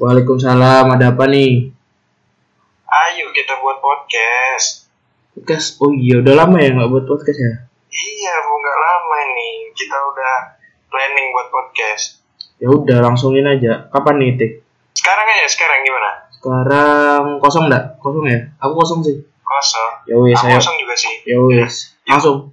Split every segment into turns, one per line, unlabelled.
Waalaikumsalam. Ada apa nih?
Ayo kita buat podcast.
Podcast. Oh iya, udah lama ya nggak buat podcast ya?
Iya, mau nggak lama nih. Kita udah planning buat podcast.
Ya udah, langsungin aja. Kapan nih, Tik?
Sekarang aja, sekarang gimana?
Sekarang kosong nggak? Kosong ya? Aku kosong sih.
Kosong.
Ya wes,
Aku
ayo.
kosong juga sih.
Ya wes. Langsung.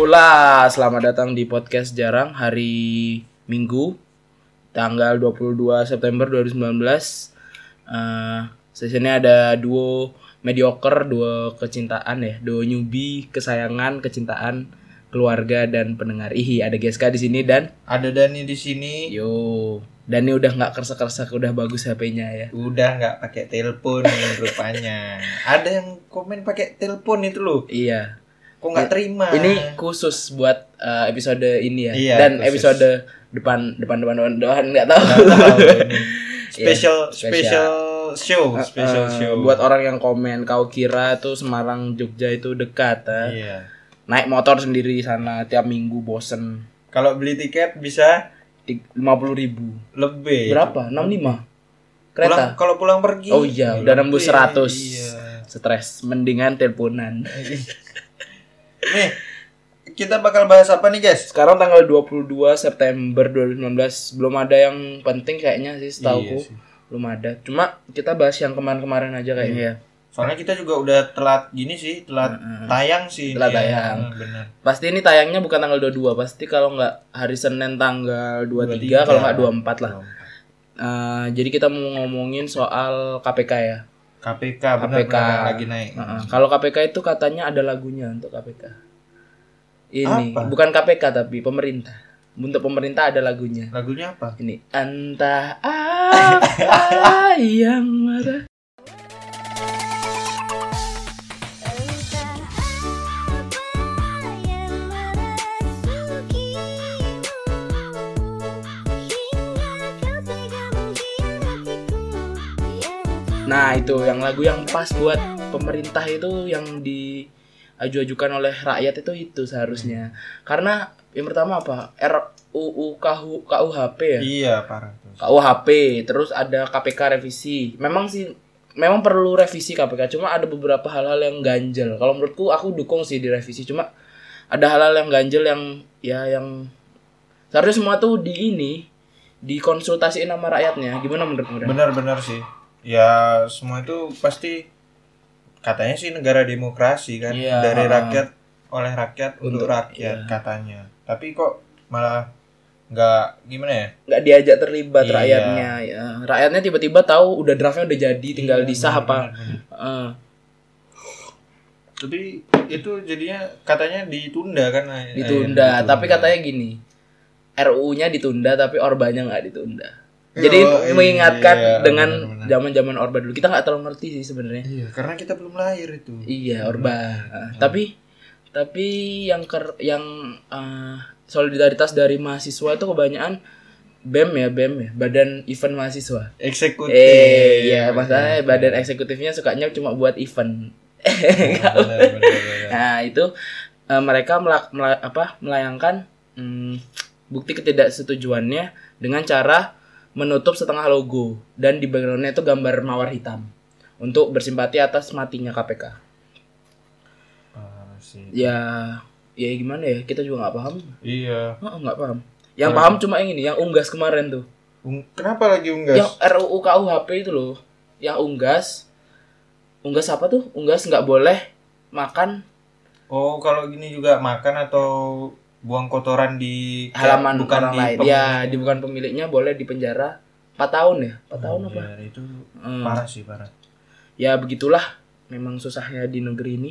Ola, selamat datang di podcast jarang hari Minggu tanggal 22 September 2019. Eh sessionnya ada duo mediocre, duo kecintaan ya, duo newbie, kesayangan, kecintaan, keluarga dan pendengar. Ihi, ada GSK di sini dan
Ada Dani di sini.
Iya. yo. Dan ini udah nggak kerasa-kerasa udah bagus HP-nya ya.
Udah nggak pakai telepon nih rupanya. Ada yang komen pakai telepon itu loh.
Iya.
Kok nggak terima?
Ini khusus buat eh, episode ini ya.
Iya,
dan
khusus.
episode depan depan depan depan depan nggak tahu.
Nggak tahu ini.
Iya,
special,
spesial.
special show, special
Eh,
show.
buat orang yang komen kau kira tuh Semarang Jogja itu dekat eh.
Iya.
naik motor sendiri sana tiap minggu bosen
Kalau beli tiket bisa
lima puluh ribu
lebih.
berapa enam lima
Iya. Pulang,
kereta
kalau pulang pergi.
Oh iya, udah nembus 100.
lebih. Iya.
stres mendingan teleponan
nih, kita bakal bahas apa nih, guys?
sekarang tanggal 22 September 2019 belum ada yang penting kayaknya sih
Iya
setauku
sih.
belum ada cuma kita bahas yang kemarin-kemarin aja kayaknya
Iya.
ya
Soalnya kita juga udah telat gini sih, telat
Heeh.
tayang sih.
Telat
ini ya.
tayang.
Heeh, Bener.
pasti ini tayangnya bukan tanggal 22 pasti kalau nggak hari Senin tanggal 23,
23.
kalau nggak 24 lah Eh, jadi kita mau ngomongin soal KPK ya
KPK,
KPK.
benar-benar lagi naik.
Heeh. Kalau KPK itu katanya ada lagunya untuk KPK. Ini
Apa?
bukan KPK tapi pemerintah. Untuk pemerintah ada lagunya.
Lagunya apa?
Ini entah apa yang marah. Nah itu yang lagu yang pas buat pemerintah itu yang diaju-ajukan oleh rakyat itu itu seharusnya. Karena yang pertama apa? RUU KU- KUHP ya.
Iya, parah tuh.
KUHP, terus ada KPK revisi. Memang sih memang perlu revisi KPK, cuma ada beberapa hal-hal yang ganjel. Kalau menurutku aku dukung sih direvisi, cuma ada hal-hal yang ganjel yang ya yang seharusnya semua tuh di ini dikonsultasiin sama rakyatnya. Gimana menurutmu? Dan?
Benar-benar sih. Ya, semua itu pasti katanya sih negara demokrasi kan,
Iya.
dari rakyat oleh rakyat
Untuk- iya.
untuk, rakyat katanya. Tapi kok malah nggak gimana ya?
nggak diajak terlibat
Iya.
rakyatnya. ya. Rakyatnya tiba-tiba tahu udah draftnya udah jadi, tinggal
Iya,
disah apa.
benar-benar.
Eh,
Tapi itu jadinya katanya ditunda kan? eh,
Iya, ditunda.
ditunda.
Tapi katanya gini, RUU-nya ditunda tapi orbanya nggak ditunda.
Yo,
Jadi
iya,
mengingatkan dengan
benar-benar.
zaman-zaman orba dulu. Kita nggak terlalu ngerti sih sebenarnya.
Iya, karena kita belum lahir itu.
Iya, orba. Ah, Tapi tapi yang ker, yang ah, solidaritas dari mahasiswa itu kebanyakan BEM ya, BEM ya, Badan Event Mahasiswa.
Eksekutif.
Eh, iya, masalahnya badan eksekutifnya sukanya cuma buat event.
Benar-benar.
Nah, itu eh, mereka melak, mela- apa, melayangkan hmm, bukti ketidaksetujuannya dengan cara menutup setengah logo dan di backgroundnya itu gambar mawar hitam untuk bersimpati atas matinya KPK.
Parah Ah, sih.
Ya, ya gimana ya? Kita juga nggak paham.
Iya.
Heeh, nggak paham. Yang paham cuma yang ini, yang unggas kemarin tuh.
Ung- Kenapa lagi unggas?
Yang RUU KUHP itu loh. Yang unggas. Unggas apa tuh? Unggas nggak boleh makan
Oh, kalau gini juga makan atau buang kotoran di
halaman
bukan
orang
di
lain.
pem-
Ya, di bukan pemiliknya boleh dipenjara 4 tahun ya, 4 tahun apa?
Iya, itu
Hmm.
parah sih parah.
Ya begitulah memang susahnya di negeri ini.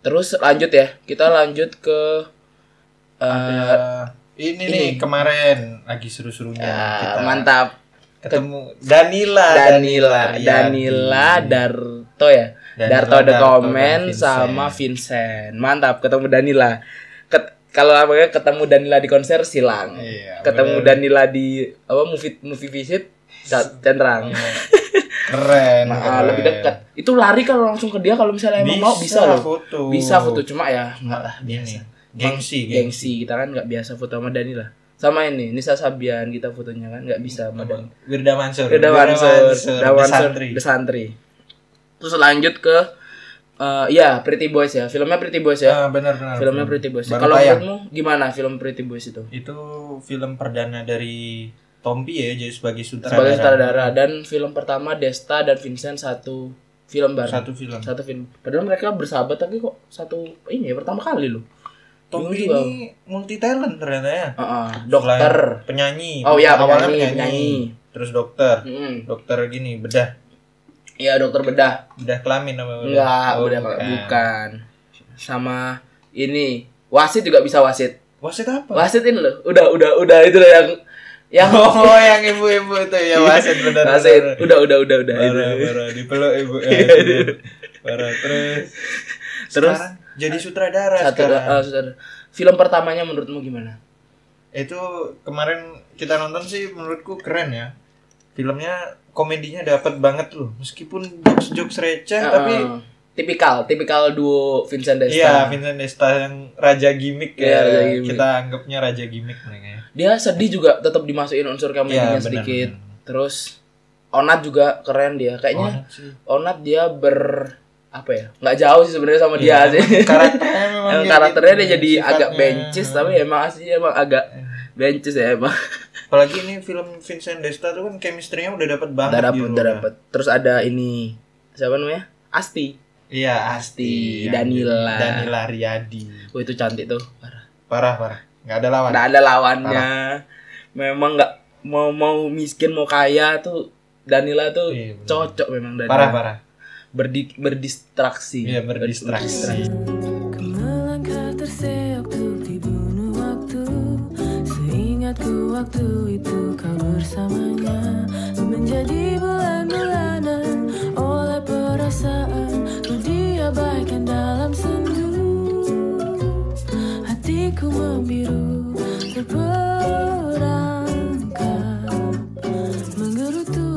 Terus lanjut ya, kita lanjut ke eh,
Ada- ini, nih
ini.
kemarin lagi seru-serunya
ah,
Ya, kita
mantap
ketemu Danila ya, Iya,
Danila, Danila
Danila Riyadi.
Darto ya.
Dan
Darto
itu
the
Darto
Comment
dan Vincent.
sama Vincent. Mantap ketemu Danila. Ket- kalau namanya ketemu Danila di konser silang.
Iya,
ketemu
bener.
Danila di apa movie movie visit Ca- Candrang.
Hmm. keren,
Nah,
keren.
lebih dekat. Itu lari kalau langsung ke dia kalau misalnya emang mau bisa loh.
foto
Bisa foto cuma ya enggak lah
ini
biasa.
gengsi
Gengsi kita kan nggak biasa foto sama Danila. Sama ini Nisa Sabian kita fotonya kan nggak bisa sama Dan-
Wirda Mansur
Udah Mansur, udah
The
Mansur,
Santri.
The Santri. Terus lanjut ke eh ya Pretty Boys ya. Filmnya Pretty Boys ya.
Ah, benar benar
Filmnya
benar.
Pretty Boys.
Baru
Kalau
tayang.
menurutmu gimana film Pretty Boys itu?
itu film perdana dari Tompi ya jadi sebagai sutradara
Sebagai sutradara dan film pertama Desta dan Vincent satu film bareng.
satu film
Satu film. Padahal mereka bersahabat tapi kok satu ini ya pertama kali loh.
Tompi
Bingung juga.
ini multi talent ternyata ya
Heeh, dokter.
Selain penyanyi
Oh iya,
awalnya
penyanyi,
penyanyi, terus dokter
Mm-mm.
dokter gini bedah
Iya, dokter bedah.
bedah kelamin apa
Enggak,
Oh,
udah
bukan.
bukan. Sama ini wasit juga bisa wasit.
wasit apa
wasitin lo udah udah udah itu loh yang yang
Oh, yang ibu-ibu itu ya wasit benar.
Iya, wasit udah udah udah udah itu.
Parah, parah. Dipeluk ibu. Ya, itu. parah terus.
Terus?
Sekarang jadi sutradara
satu
sekarang.
eh, saudara. film pertamanya menurutmu gimana
Itu kemarin kita nonton sih menurutku keren ya. Filmnya komedinya dapat banget loh. Meskipun jokes-jokes receh tapi
Eh, tipikal tipikal duo Vincent Desta
Iya, Vincent Desta yang raja gimmick ya.
Iya, raja gimmick. Iya.
Kita anggapnya raja gimmick nih kayaknya.
dia sedih juga tetap dimasukin unsur komedinya
Iya, benar,
sedikit
benar.
terus Onat juga keren dia kayaknya
Banget sih.
Onat dia ber apa ya nggak jauh sih sebenarnya sama dia
Iya,
sih
emang Karakternya memang
Emang
kayak
karakternya
gitu,
dia jadi agak
sifatnya.
bencis tapi ya emang aslinya emang agak bencis ya emang
Iya. Apalagi ini film Vincent Desta tuh kan chemistry-nya udah dapat banget.
Udah
gitu di
dapet, udah
luar.
dapet. Terus ada ini siapa namanya? Asti.
Iya,
Asti,
Asti, yang
Danila.
jadi Danila Riyadi.
Oh itu cantik tuh. Parah.
Parah, parah. Nggak ada lawan.
Nggak ada lawannya. Memang nggak mau mau miskin mau kaya tuh Danila tuh
Iya, bener.
cocok memang Danila.
parah, parah.
Berdi- berdistraksi.
Iya, berdistraksi.
Ku melangkah terseok untuk dibunuh waktu Seingatku waktu itu kau bersamanya Menjadi bulan-bulanan oleh perasaan Ku diabaikan dalam sendu Hatiku membiru terperangkap Menggerutu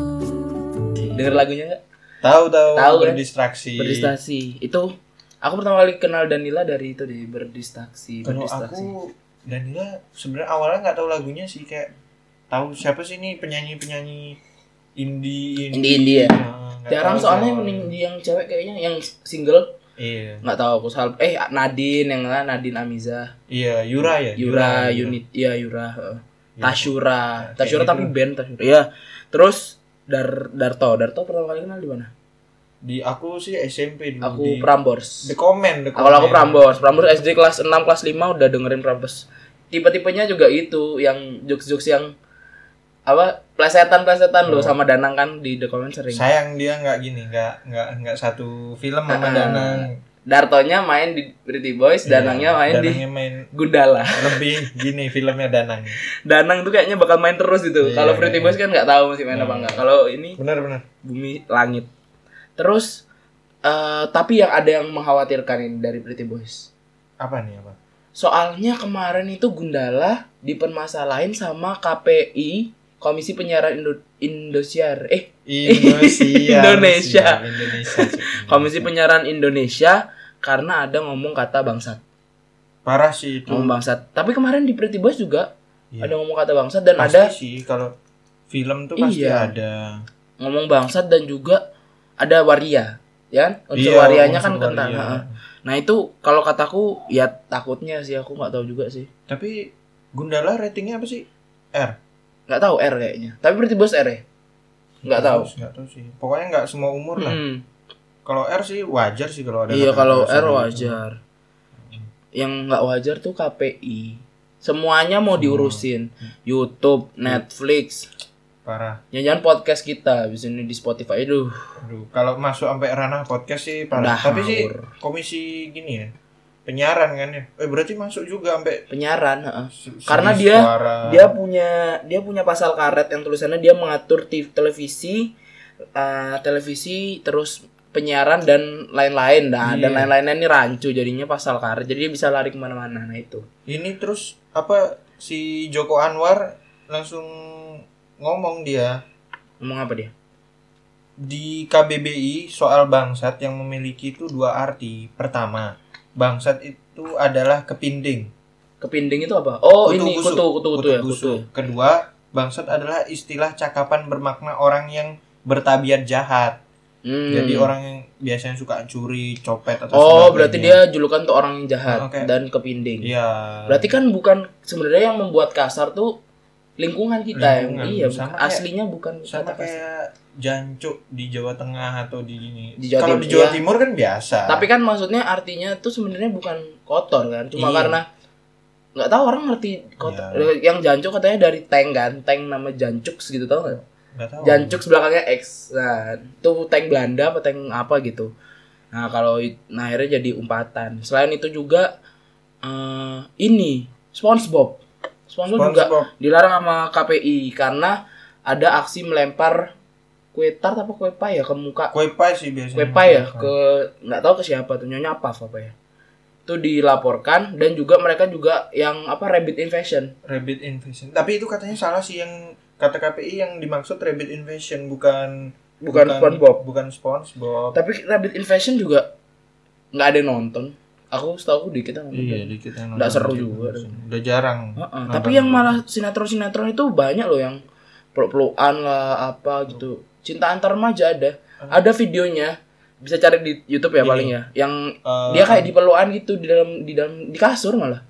Dengar lagunya nggak?
Tahu, tahu,
Tahu, kan?
berdistraksi.
Berdistraksi. Itu aku pertama kali kenal Danila dari itu deh berdistraksi.
Kalau
Berdistraksi.
aku Danila sebenarnya awalnya nggak tahu lagunya sih kayak tahu siapa sih ini penyanyi-penyanyi indie
Indie-indie ya?
Nah, nggak
Jarang
tahu
soalnya
soal-
mending yang cewek kayaknya yang single
Iya.
nggak tahu aku salah eh Nadine yang lah Nadine Amiza
Iya, Yura ya.
Yura, unit ya Yura heeh.
Yura.
Tashura
kayak
Tashura
gitu.
tapi band Tashura ya terus Dar Darto Darto pertama kali kenal di mana
Di aku sih SMP dulu
aku
di
Prambors
The Comment, The
kalau aku
Comment.
Prambors Prambors SD kelas 6 kelas 5 udah dengerin Prambors tipe-tipenya juga itu yang jokes-jokes yang apa plesetan plesetan loh
Oh.
sama Danang kan di The Comment sering
Sayang dia nggak gini, nggak nggak nggak satu film sama
Ah,
Danang.
Dartonya main di Pretty Boys Danangnya
Iya,
main di
Danangnya main
Gundala
lebih gini filmnya Danang.
Danang tuh kayaknya bakal main terus gitu
Iya,
kalau Pretty
iya.
Boys kan nggak tahu masih main apa
Iya.
enggak kalau ini
Benar benar.
bumi langit terus eh, tapi yang ada yang mengkhawatirkan ini dari Pretty Boys
Apa nih apa?
soalnya kemarin itu Gundala dipermasalahin sama KPI Komisi Penyiaran Indo Indosiar eh Indonesia.
Indonesia. Indonesia. Indonesia.
Komisi Penyiaran Indonesia karena ada ngomong kata bangsat
Parah sih itu.
ngomong bangsat tapi kemarin di Pretty Boys juga
Hmm.
ada
Iya.
ngomong kata bangsat dan
Pasti
ada
sih kalau film tuh pasti
Iya.
ada.
ngomong bangsat dan juga ada waria ya kan? unsur
Iya,
warianya
unsur
kan kental
waria.
ha-ha. nah itu kalau kataku ya takutnya sih aku nggak tahu juga sih
Tapi Gundala ratingnya apa sih? R.
nggak tahu R kayaknya tapi berarti bos R ya nggak tahu
Enggak tahu sih. Pokoknya enggak semua umur lah.
Mm.
Kalau R sih wajar sih kalau ada.
iya
kata-kata
kalau
kasar
R
gitu.
wajar yang nggak wajar tuh KPI semuanya
Oh.
mau diurusin YouTube
Iya.
Netflix
Parah.
jangan podcast kita bisa ini di Spotify aduh
Aduh, kalau masuk sampai ranah podcast sih parah.
Udah
Tapi sih
ngawur.
komisi gini ya. Penyiaran kan ya. Eh berarti masuk juga sampai
penyiaran heeh.
se-
Karena
seni
dia-
suara.
dia punya dia punya pasal karet yang tulisannya dia mengatur TV ah, televisi eh, televisi terus penyiaran dan lain-lain dah dan
Iya.
lain-lainnya ini rancu jadinya pasal karet jadi dia bisa lari kemana-mana nah itu
ini terus apa si Joko Anwar langsung ngomong dia
ngomong apa dia
di KBBI soal bangsat yang memiliki itu dua arti pertama bangsat itu adalah kepinding
kepinding itu apa oh ini
kutu-kusu.
kutu kutu kutu ya
Kutu-kusu.
kutu
kedua bangsat adalah istilah cakapan bermakna orang yang bertabiat jahat
Hmm.
jadi orang yang biasanya suka curi copet atau
oh berarti dia julukan tuh orang yang jahat
Oke.
dan kepinding
Iya.
Berarti kan bukan sebenarnya yang membuat kasar tuh lingkungan kita yang
Lingkungan.
iya
Sama
bukan-
kayak-
aslinya bukan
sama
kata kasar.
kayak jancuk di Jawa Tengah atau di ini.
Di Jawa
Kalau
Timur,
di Jawa
iya.
Timur kan biasa.
Tapi kan maksudnya artinya tuh sebenarnya bukan kotor kan, cuma
Iya.
karena nggak tahu orang ngerti kotor. Yang jancuk katanya dari tank kan, tank nama jancuk gitu tau nggak?
Nggak tahu.
Jancuk belakangnya X. Nah, itu tank Belanda apa tank apa gitu. Nah, kalau i- nah akhirnya jadi umpatan. Selain itu juga eh, ini SpongeBob. SpongeBob juga
SpongeBob.
dilarang sama KPI karena ada aksi melempar kue tart apa kue pie ya ke muka
Kue pie sih biasanya.
kue pie ya ke nggak tahu ke siapa tuh nyonya apa apa ya itu dilaporkan dan juga mereka juga yang apa rabbit invasion
rabbit invasion. Tapi itu katanya salah sih yang kata KPI yang dimaksud rabbit invasion bukan
bukan, SpongeBob
Bukan SpongeBob.
tapi rabbit invasion juga nggak ada yang nonton aku setahu aku dikit yang nonton.
Iya, dikit yang
Nggak
nonton
seru
rabbit
juga.
invasion. Udah jarang.
Heeh,
nonton
tapi yang
rabbit.
malah sinetron-sinetron itu banyak loh yang peluk-pelukan lah apa gitu cinta antar remaja ada ada videonya bisa cari di YouTube ya
Ini.
paling ya yang
Eh,
dia kayak diperluan gitu di dalam di dalam di kasur malah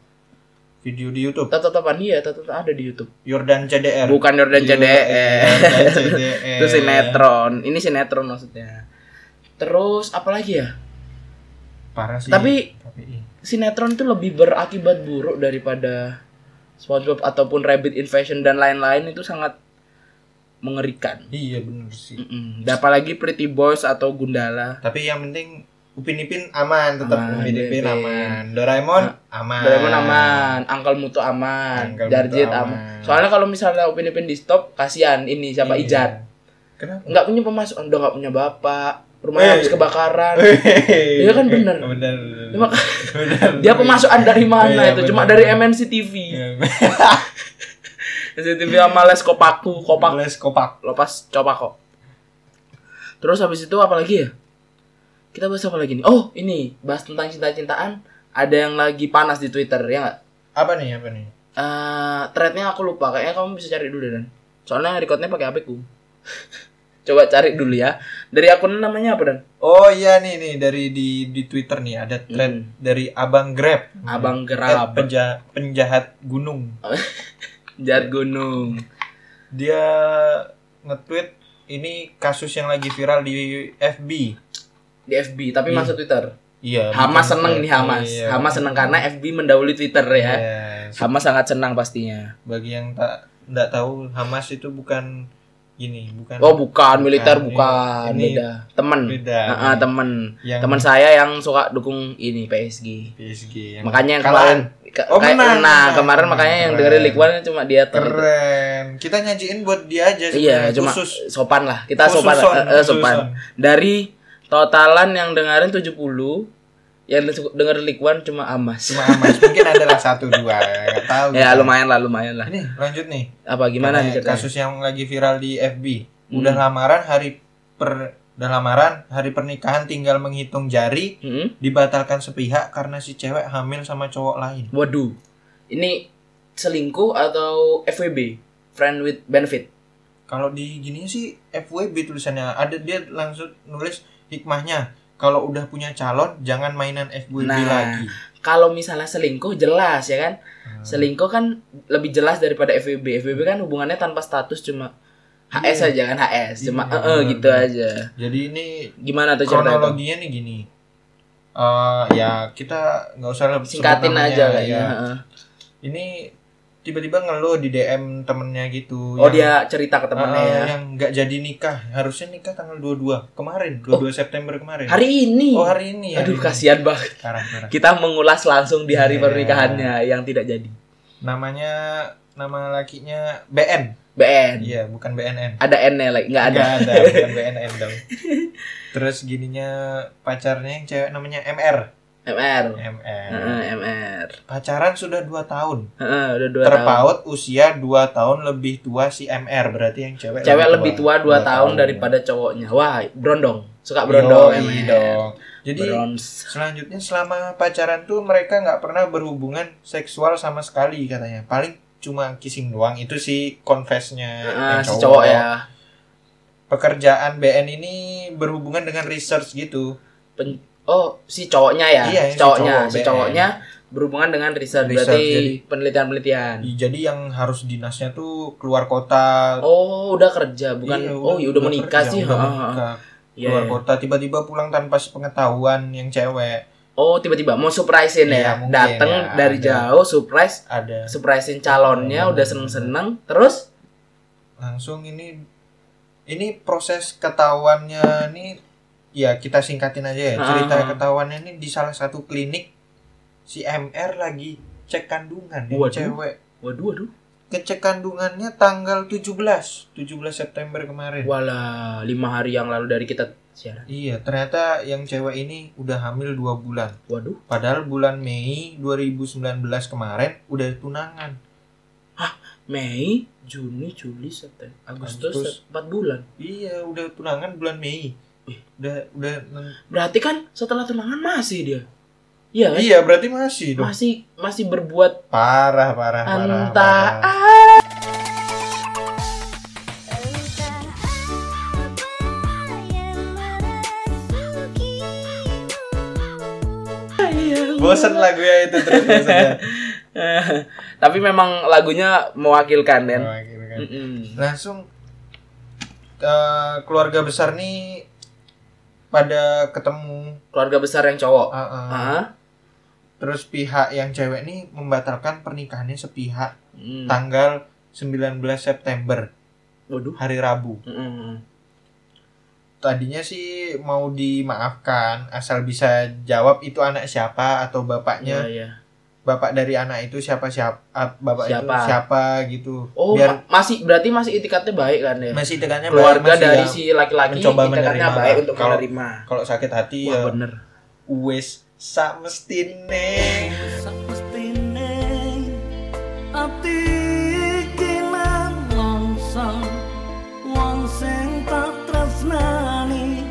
video di YouTube
tatap-tatapan dia tatap ada di YouTube
Yordan CDR.
bukan Jordan
Iya,
CDE
Yordan CDR.
itu sinetron ini sinetron maksudnya terus apalagi ya
Parah sih.
Tapi-
KPI.
sinetron itu lebih berakibat buruk daripada SpongeBob ataupun Rabbit Invasion dan lain-lain itu sangat mengerikan
Iya bener sih.
Mm-mm. Dan apalagi Pretty Boys atau Gundala
Tapi yang penting Upin Ipin aman, tetap
Aman,
Upin Ipin
Ipin.
aman. Doraemon aman.
Doraemon aman, Uncle Muto aman,
Ah. Uncle Muto
Jarjit
aman.
aman. Soalnya kalau misalnya Upin Ipin di stop, kasihan ini siapa
Iya.
Ijat.
Kenapa?
nggak punya pemasukan udah nggak punya bapak rumahnya
Eh.
habis kebakaran
Iya
kan bener.
Bener.
Ya, maka-
Bener.
dia pemasukan dari mana
Iya,
itu cuma
bener.
dari MNC TV
Iya.
MNC TV sama les kopaku kopak
Les kopak.
lepas coba kok terus habis itu apa lagi ya kita bahas apa lagi nih oh ini bahas tentang cinta-cintaan ada yang lagi panas di Twitter ya nggak
Apa nih? Apa nih?
Eh, threadnya aku lupa kayaknya kamu bisa cari dulu dan soalnya recordnya pakai HP ku coba cari dulu ya dari akun namanya apa dan
Oh iya nih nih dari di di Twitter nih ada thread
Hmm.
dari Abang Grab.
abang
Eh,
gerab
penja- penjahat gunung.
jahat gunung
Dia nge-tweet ini kasus yang lagi viral di FB.
di FB tapi
Iya.
masuk Twitter.
Iya.
Hamas
bikin
seneng nih
thread.
Hamas.
Iya.
Hamas seneng karena FB mendahului Twitter ya.
Yes.
Hamas sangat senang pastinya.
bagi yang tak tidak tahu Hamas itu bukan ini bukan
Oh bukan militer
Bukan.
bukan
Nah, Ini-
beda temen.
beda kan?
Ah, ah, temen
yang
teman saya yang suka dukung ini PSG.
PSG yang
Makanya yang
Kalahin.
kemarin ke-
Oh,
kayak
menang.
nah kemarin
Menang.
makanya yang
Keren.
dengerin Likwan cuma dia temen itu.
keren kita nyajiin buat dia aja
Iya
sebenarnya,
cuma
khusus
sopan lah kita
Khusus
sopan
son,
lah, eh, eh, sopan.
khusus son.
Dari totalan yang dengerin 70 yang dengerin Likwan cuma Amas.
cuma Hamas mungkin adalah satu dua nggak tahu gitu.
Ya lumayan lah lumayan lah.
ini lanjut nih
apa gimana nih
Karena
ceritanya?
kasus yang lagi viral di FB
Hmm.
udah lamaran hari per udah lamaran hari pernikahan tinggal menghitung jari
Hmm?
dibatalkan sepihak karena si cewek hamil sama cowok lain
Waduh, ini selingkuh atau FWB, friend with benefit.
Kalau di gini sih FWB tulisannya ada dia langsung nulis hikmahnya. Kalau udah punya calon jangan mainan FWB
Nah.
lagi.
Kalau misalnya selingkuh jelas ya kan,
Hmm.
selingkuh kan lebih jelas daripada FWB. FWB kan hubungannya tanpa status cuma HS aja kan HS, cuma
Iya,
eh eh, gitu
benar.
aja.
Jadi ini
Gimana tuh ceritanya?
kronologinya nih gini. Eh, ya kita nggak usah sebut
Singkatin
namanya,
aja
ya.
kayaknya. heeh.
Ini tiba-tiba ngeluh di DM temennya gitu.
Oh
yang-
dia cerita ke temannya
eh,
ya.
yang nggak jadi nikah harusnya nikah tanggal 22 kemarin 22 September kemarin
Oh. Hari ini.
oh hari ini ya
Aduh kasihan banget.
Parah, parah.
Kita mengulas langsung di hari
Iya.
pernikahannya yang tidak jadi.
namanya nama lakinya BN
BN.
iya bukan BNN
Ada N-nya lagi, nggak ada.
Nggak ada bukan BNN dong terus gininya pacarnya yang cewek namanya MR
MR.
Iya. MR
Heeh, MR.
pacaran sudah 2 tahun
Heeh, udah 2 tahun.
terpaut usia 2 tahun lebih tua si MR berarti yang cewek
Cewek lebih tua 2
Dua
tahun, daripada cowoknya. Wah, brondong. Suka ya. brondong
Yoi
MR.
dong jadi
Brons.
selanjutnya selama pacaran tuh mereka nggak pernah berhubungan seksual sama sekali katanya paling cuma kissing doang itu si confessnya
Heeh,
yang
eh, si cowok ya.
pekerjaan BN ini berhubungan dengan research gitu
Pen- oh, si cowoknya ya.
Iya,
si
si
cowoknya,
cowok,
si
BN.
cowoknya berhubungan dengan riset,
Riset,
berarti
jadi-
penelitian-penelitian.
jadi yang harus dinasnya tuh keluar kota
Oh, udah kerja, bukan
Iya,
oh, ya udah menikah
kerja,
sih. ha,
udah
ha, ha.
menikah.
Iya,
keluar
iya.
kota tiba-tiba pulang tanpa sepengetahuan yang cewek
Oh, tiba-tiba mau surprisein
Iya,
ya.
mungkin
Dateng
ya,
dari
ada.
jauh surprise,
ada
surprisein calonnya
Hmm.
udah seneng-seneng terus
langsung ini ini proses ketahuannya nih ya kita singkatin aja ya
Ah.
cerita ketahuannya ini di salah satu klinik si MR lagi cek kandungan yang
Waduh.
cewek
waduh waduh.
ngecek kandungannya tanggal 17 17 September kemarin
Walah, lima hari yang lalu dari kita siaran.
iya ternyata yang cewek ini udah hamil 2 bulan
Waduh,
padahal bulan Mei 2019 kemarin udah tunangan
Mei, Juni, Juli, September, Agustus,
Agustus.
4 bulan.
iya udah tunangan bulan Mei udah udah
Berarti kan setelah tunangan masih dia. Iya kan?
iya berarti masih dong
Masih masih berbuat
Parah, parah, parah.
Entah
parah. Bosen lagu ya itu terus bosen ya.
Tapi memang lagunya mewakilkan Den.
Oh, gitu kan.
Mm-mm.
Langsung eh, keluarga besar nih pada ketemu
Keluarga besar yang cowok.
eh, eh.
Ah.
terus pihak yang cewek nih membatalkan pernikahannya sepihak
Mm.
tanggal 19 September
Waduh.
hari Rabu.
Mm-mm.
Tadinya sih mau dimaafkan asal bisa jawab itu anak siapa atau bapaknya
Iya, iya.
bapak dari anak itu siapa siapa bapak
Siapa?
itu siapa gitu
Oh,
biar
ma- masih berarti masih itikadnya baik kan ya?
masih tekannya
Keluarga
masih
dari
ya,
si laki-laki
mencoba
itikadnya
menerima.
baik untuk
Kalau-
menerima.
kalau sakit hati
Wah,
ya
bener.
wes samestine
Ati kilang longsor Wong sing tak tresnani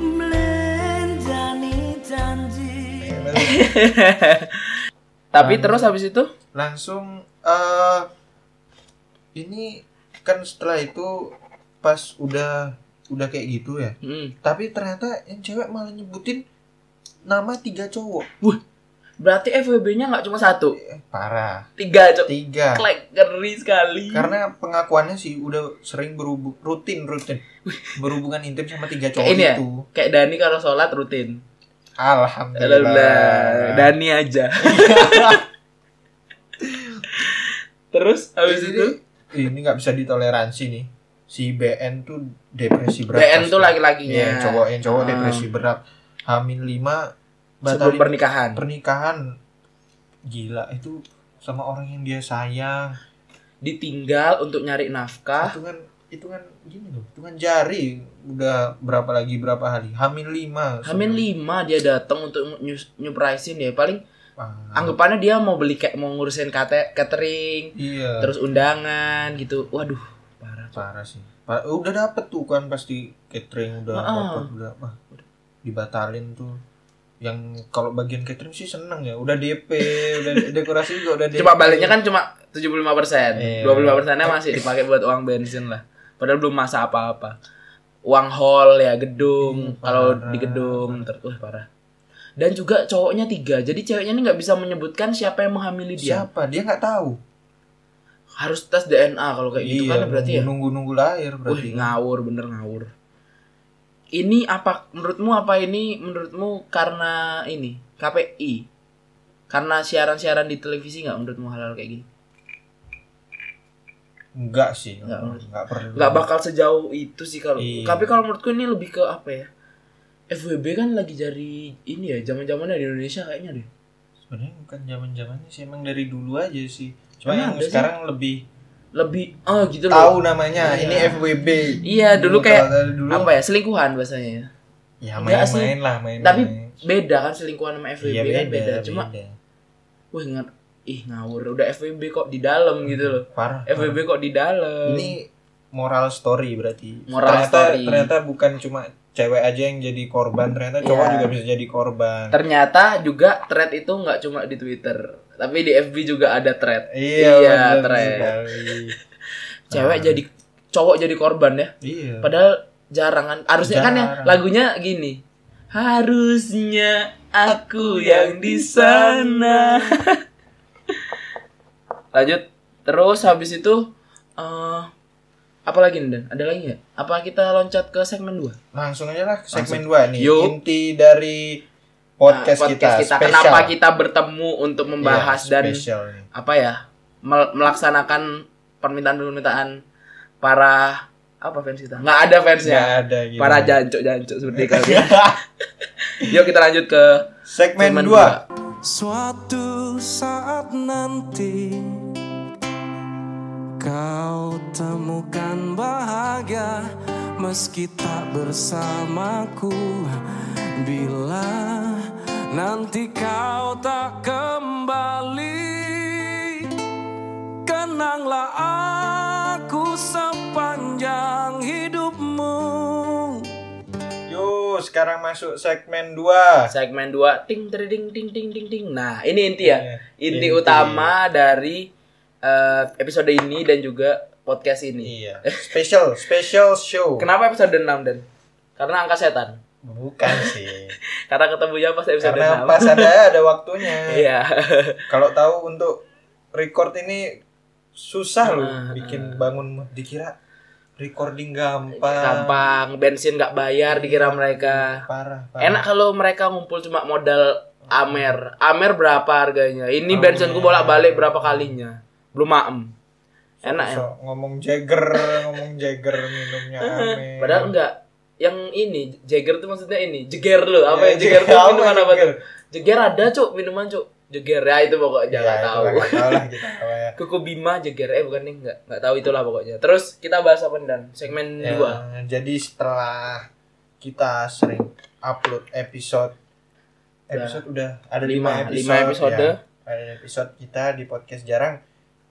Blenjani janji
Tapi
Lalu-
terus habis itu?
langsung eh ini kan setelah itu pas udah udah kayak gitu ya
Mm.
tapi ternyata yang cewek malah nyebutin nama tiga cowok
Berarti FWB-nya nggak cuma satu,
Eh, parah
tiga cowok.
tiga
Klek ngeri sekali.
Karena pengakuannya sih udah sering berhubung rutin rutin berhubungan intim sama tiga cowok
Kayak ini ya?
itu.
kayak Dani kalau sholat rutin. Alhamdulillah.
Iya. Alhamdulillah.
Dani aja. Terus habis
Ini-
itu
Nah, ini nggak bisa ditoleransi nih. Si BN tuh depresi berat.
BN
pasti.
tuh laki-lakinya.
Iya, yang cowok yang cowok
Ah.
depresi berat. Hamil 5
sebelum
batalin
pernikahan.
pernikahan. Gila itu sama orang yang dia sayang.
Ditinggal untuk nyari nafkah.
Hitungan hitungan gini loh, hitungan jari udah berapa lagi berapa hari. Hamil 5.
Hamin lima dia datang untuk nyu- nyupraisin ya. Paling
Ah,
anggapannya dia mau beli kayak mau ngurusin kate- catering,
iya.
terus undangan gitu. Waduh, parah.
parah sih Pa- udah dapet tuh kan pasti catering udah
Ah.
dapet udah wah dibatalin tuh yang kalau bagian catering sih seneng ya udah DP udah de- dekorasi juga udah DP
Cuma baliknya kan cuma 75%.
Iya.
25%-nya masih dipakai buat uang bensin lah. Padahal belum masa apa-apa. Uang hall ya, gedung.
Iya, parah.
Kalau di gedung ter wah, parah. Dan juga cowoknya tiga, jadi ceweknya ini nggak bisa menyebutkan siapa yang menghamili dia.
siapa dia nggak tahu
Harus tes DNA kalau kayak gitu kan berarti ya.
nunggu nunggu lahir
Wah,
Iya, berarti
ngawur bener ngawur. Ini apa menurutmu apa ini menurutmu karena ini KPI? Karena siaran-siaran di televisi nggak menurutmu hal-hal kayak gini?
enggak sih
Nggak.
enggak perlu
nggak bakal sejauh itu sih kalau
Iya.
tapi kalau menurutku ini lebih ke apa ya FWB kan lagi dari ini ya zaman zamannya di Indonesia kayaknya deh
kan sebenarnya bukan zaman zamannya sih emang dari dulu aja sih Cuma
Emang
yang
ada sih?
sekarang lebih
lebih oh gitu loh.
tahu namanya. Ini
Iya.
FWB.
Iya, dulu kayak
tahu-tahu dulu.
apa ya selingkuhan bahasanya. ya.
Ya
Enggak sih.
main-main lah, main-main.
Tapi beda kan selingkuhan sama FWB
Iya,
kan beda. Cuma
beda.
wah ingat ih ngawur udah FWB kok di dalam gitu loh.
parah.
FWB kok di dalam.
ini moral story berarti
Moral
ternyata
story.
ternyata bukan cuma cewek aja yang jadi korban ternyata cowok
Iya.
juga bisa jadi korban
Ternyata juga thread itu nggak cuma di Twitter, tapi di FB juga ada thread. Iya,
bener
Trey.
sekali.
Cewek
Ah.
jadi cowok jadi korban ya.
iya
Padahal jarangan harusnya kan yang
Jarang.
lagunya gini. Harusnya aku yang di sana. Lanjut. Terus habis itu eh apa lagi nih Dan? Ada lagi nggak? Apa kita loncat ke segmen 2?
langsung aja lah ke segmen 2 nih
Yuk.
inti dari podcast, kita, spesial.
Kenapa kita bertemu untuk membahas
Iya,
dan
spesial nih.
apa ya? mel- melaksanakan permintaan-permintaan para apa fans kita? Nggak ada fansnya.
Nggak ada gitu
para jancuk-jancuk seperti kalian. Yuk kita lanjut ke
segmen
Segmen
2
Suatu saat nanti kau temukan bahagia meski tak bersamaku bila nanti kau tak kembali kenanglah aku sepanjang hidupmu
yuk sekarang masuk segmen 2
segmen 2 ting ting ting ting ting ting ting. Nah, ini inti ya.
Iya,
Inti,
inti.
utama dari eh, episode ini dan juga podcast ini.
iya special special show
Kenapa episode 6 dan? Karena angka setan.
bukan sih
Karena ketemu ya pas episode 6.
karena pas ada ada waktunya
Iya.
Kalau tahu untuk record ini susah loh
Ah,
bikin bangun dikira recording gampang.
Gampang, bensin nggak bayar dikira mereka.
Parah, parah.
Enak kalau mereka ngumpul cuma modal Amer. Amer berapa harganya? Ini bensinku bolak-balik berapa kalinya? Belum maem. Enak ya.
Sok ngomong Jagger, ngomong Jagger minumnya aneh.
Padahal enggak. Yang ini Jagger tuh maksudnya ini, jeger lo. Apa
Ya,
yang jeger tuh
apa
minuman apa
Jagger?
tuh? Jeger ada, Cuk, minuman, Cuk. Jeger ya itu pokoknya
Ya,
enggak
itu
tahu.
lah, nggak tahu lah kita apa ya.
Kuku Bima jeger eh bukan nih enggak. Enggak tahu itulah pokoknya. Terus kita bahas apa nih, dan segmen
Ya,
2.
jadi setelah kita sering upload episode episode udah ada
Lima-
lima
lima
episode,
episode.
ya. ada episode kita di podcast jarang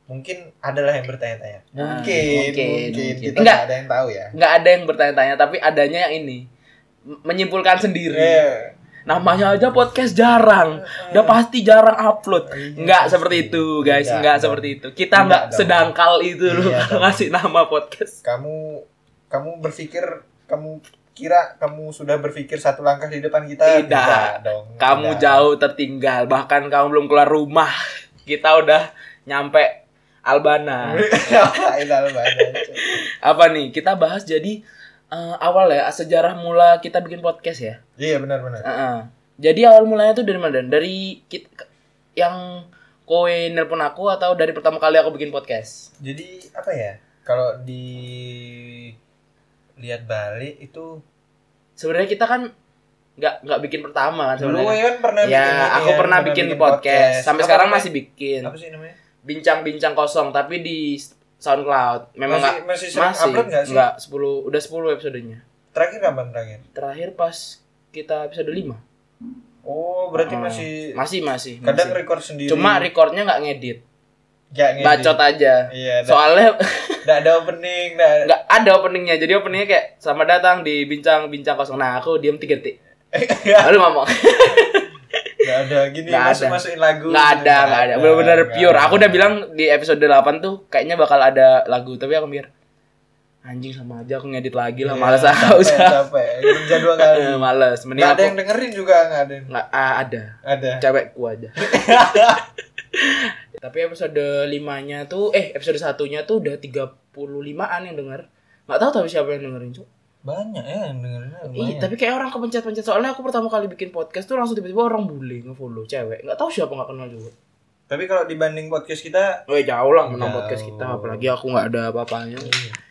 mungkin adalah yang bertanya-tanya
Nah,
mungkin
mungkin,
mungkin,
mungkin.
kita
Enggak.
nggak ada yang tahu ya
Enggak ada yang bertanya-tanya, tapi adanya yang ini. M- Menyimpulkan sendiri.
Eh,
Namanya aja podcast jarang. Udah pasti jarang upload.
Iya,
Enggak
pasti.
seperti itu, guys.
Enggak,
Enggak
dong.
seperti itu. Kita
Enggak
enggak
dong.
sedangkal itu loh
Iya
kalau
dong.
ngasih nama podcast.
kamu kamu berpikir kamu kira kamu sudah berpikir satu langkah di depan kita
Tidak.
dong
Kamu
Tidak.
jauh tertinggal, bahkan kamu belum keluar rumah. Kita udah nyampe Albana.
Itu apa, Bang?
Apa nih? Kita bahas jadi eh, awal ya sejarah mula kita bikin podcast ya.
iya benar-benar
Heeh. Jadi awal mulanya tuh dari mana? Dan? Dari kit- ke- yang kowe nelpon aku atau dari pertama kali aku bikin podcast?
jadi apa ya kalau di lihat balik itu
Sebenarnya kita kan nggak nggak bikin pertama kan
dulu
sebenarnya.
kan pernah bikin ini
Ya, aku
kan,
pernah bikin, podcast. Sampai
Apa
sekarang
namanya?
masih bikin.
apa sih namanya
Bincang-bincang kosong tapi di SoundCloud. Memang nggak
masih masih sering
masih
upload nggak sih
nggak 10 udah 10 episodenya
terakhir kapan terakhir
terakhir pas kita episode 5
oh berarti
Hmm.
masih
masih masih,
kadang
masih.
record sendiri
cuma recordnya nggak ngedit
Nggak ngedit.
bacot aja
iya nggak
soalnya
nggak ada opening nggak ada-
nggak ada openingnya jadi openingnya kayak sama datang di bincang bincang kosong nah aku diam tiga detik
Iya.
lalu ngomong
nggak ada gini
Nggak
masuk
ada.
masukin lagu
nggak ada nggak ada benar-benar
nggak
pure
ada.
aku udah bilang di episode 8 tuh kayaknya bakal ada lagu tapi aku mikir anjing sama aja aku ngedit lagi lah
Iya,
malas
capek,
ah usah
capek kerja dua kali
Eh, males mending
nggak ada
aku
yang dengerin juga nggak ada yang
nggak ah, ada
ada
cewekku aja. Tapi episode 5-nya tuh eh episode satunya tuh udah 35-an yang denger. Nggak tahu tapi siapa yang dengerin, Cuk.
banyak ya yang dengerin
Ih, tapi kayak orang kepencet-pencet soalnya aku pertama kali bikin podcast tuh langsung tiba-tiba orang bule nge-follow cewek. Nggak tahu siapa nggak kenal juga.
tapi kalau dibanding podcast kita
Eh, jauh lah menang
Jauh. Iya.
podcast kita apalagi aku nggak ada apa-apanya.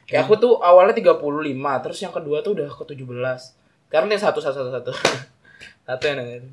Kayak aku tuh awalnya 35, terus yang kedua tuh udah ke 17. Karena yang satu satu satu satu. satu yang dengerin.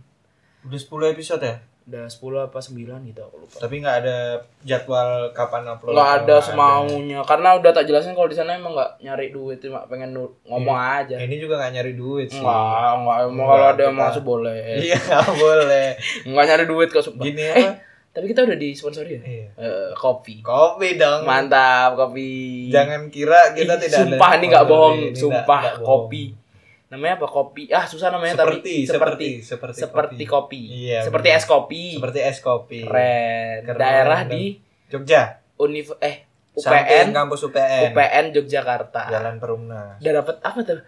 udah 10 episode ya
udah 10 apa 9 gitu aku lupa.
Tapi nggak ada jadwal kapan upload.
Nggak ada
Nggak
semaunya karena udah tak jelasin kalau di sana emang nggak nyari duit cuma pengen nu- ngomong aja.
ada. Ya, Ini juga nggak nyari duit Iya. sih.
Enggak, enggak emang
Nggak,
kalau ada yang
kita-
masuk boleh.
Iya nggak boleh.
Enggak nyari duit kok sumpah.
Gini
eh,
apa?
tapi kita udah disponsori ya?
Iya.
Eh, kopi.
Kopi dong.
Mantap, kopi.
Jangan kira
Ih,
kita tidak ada.
sumpah ini nggak
sponsor
bohong
ini,
sumpah
nggak- nggak bohong.
kopi namanya apa kopi ah susah namanya
Seperti,
tapi
seperti,
seperti
seperti
seperti
kopi.
kopi,
Iya,
seperti
benar.
es kopi
Seperti es kopi.
keren
Keren.
daerah di
Jogja.
univ eh
Samping
UPN
kampus UPN.
UPN Yogyakarta
Jalan Perumnas.
udah dapat apa tuh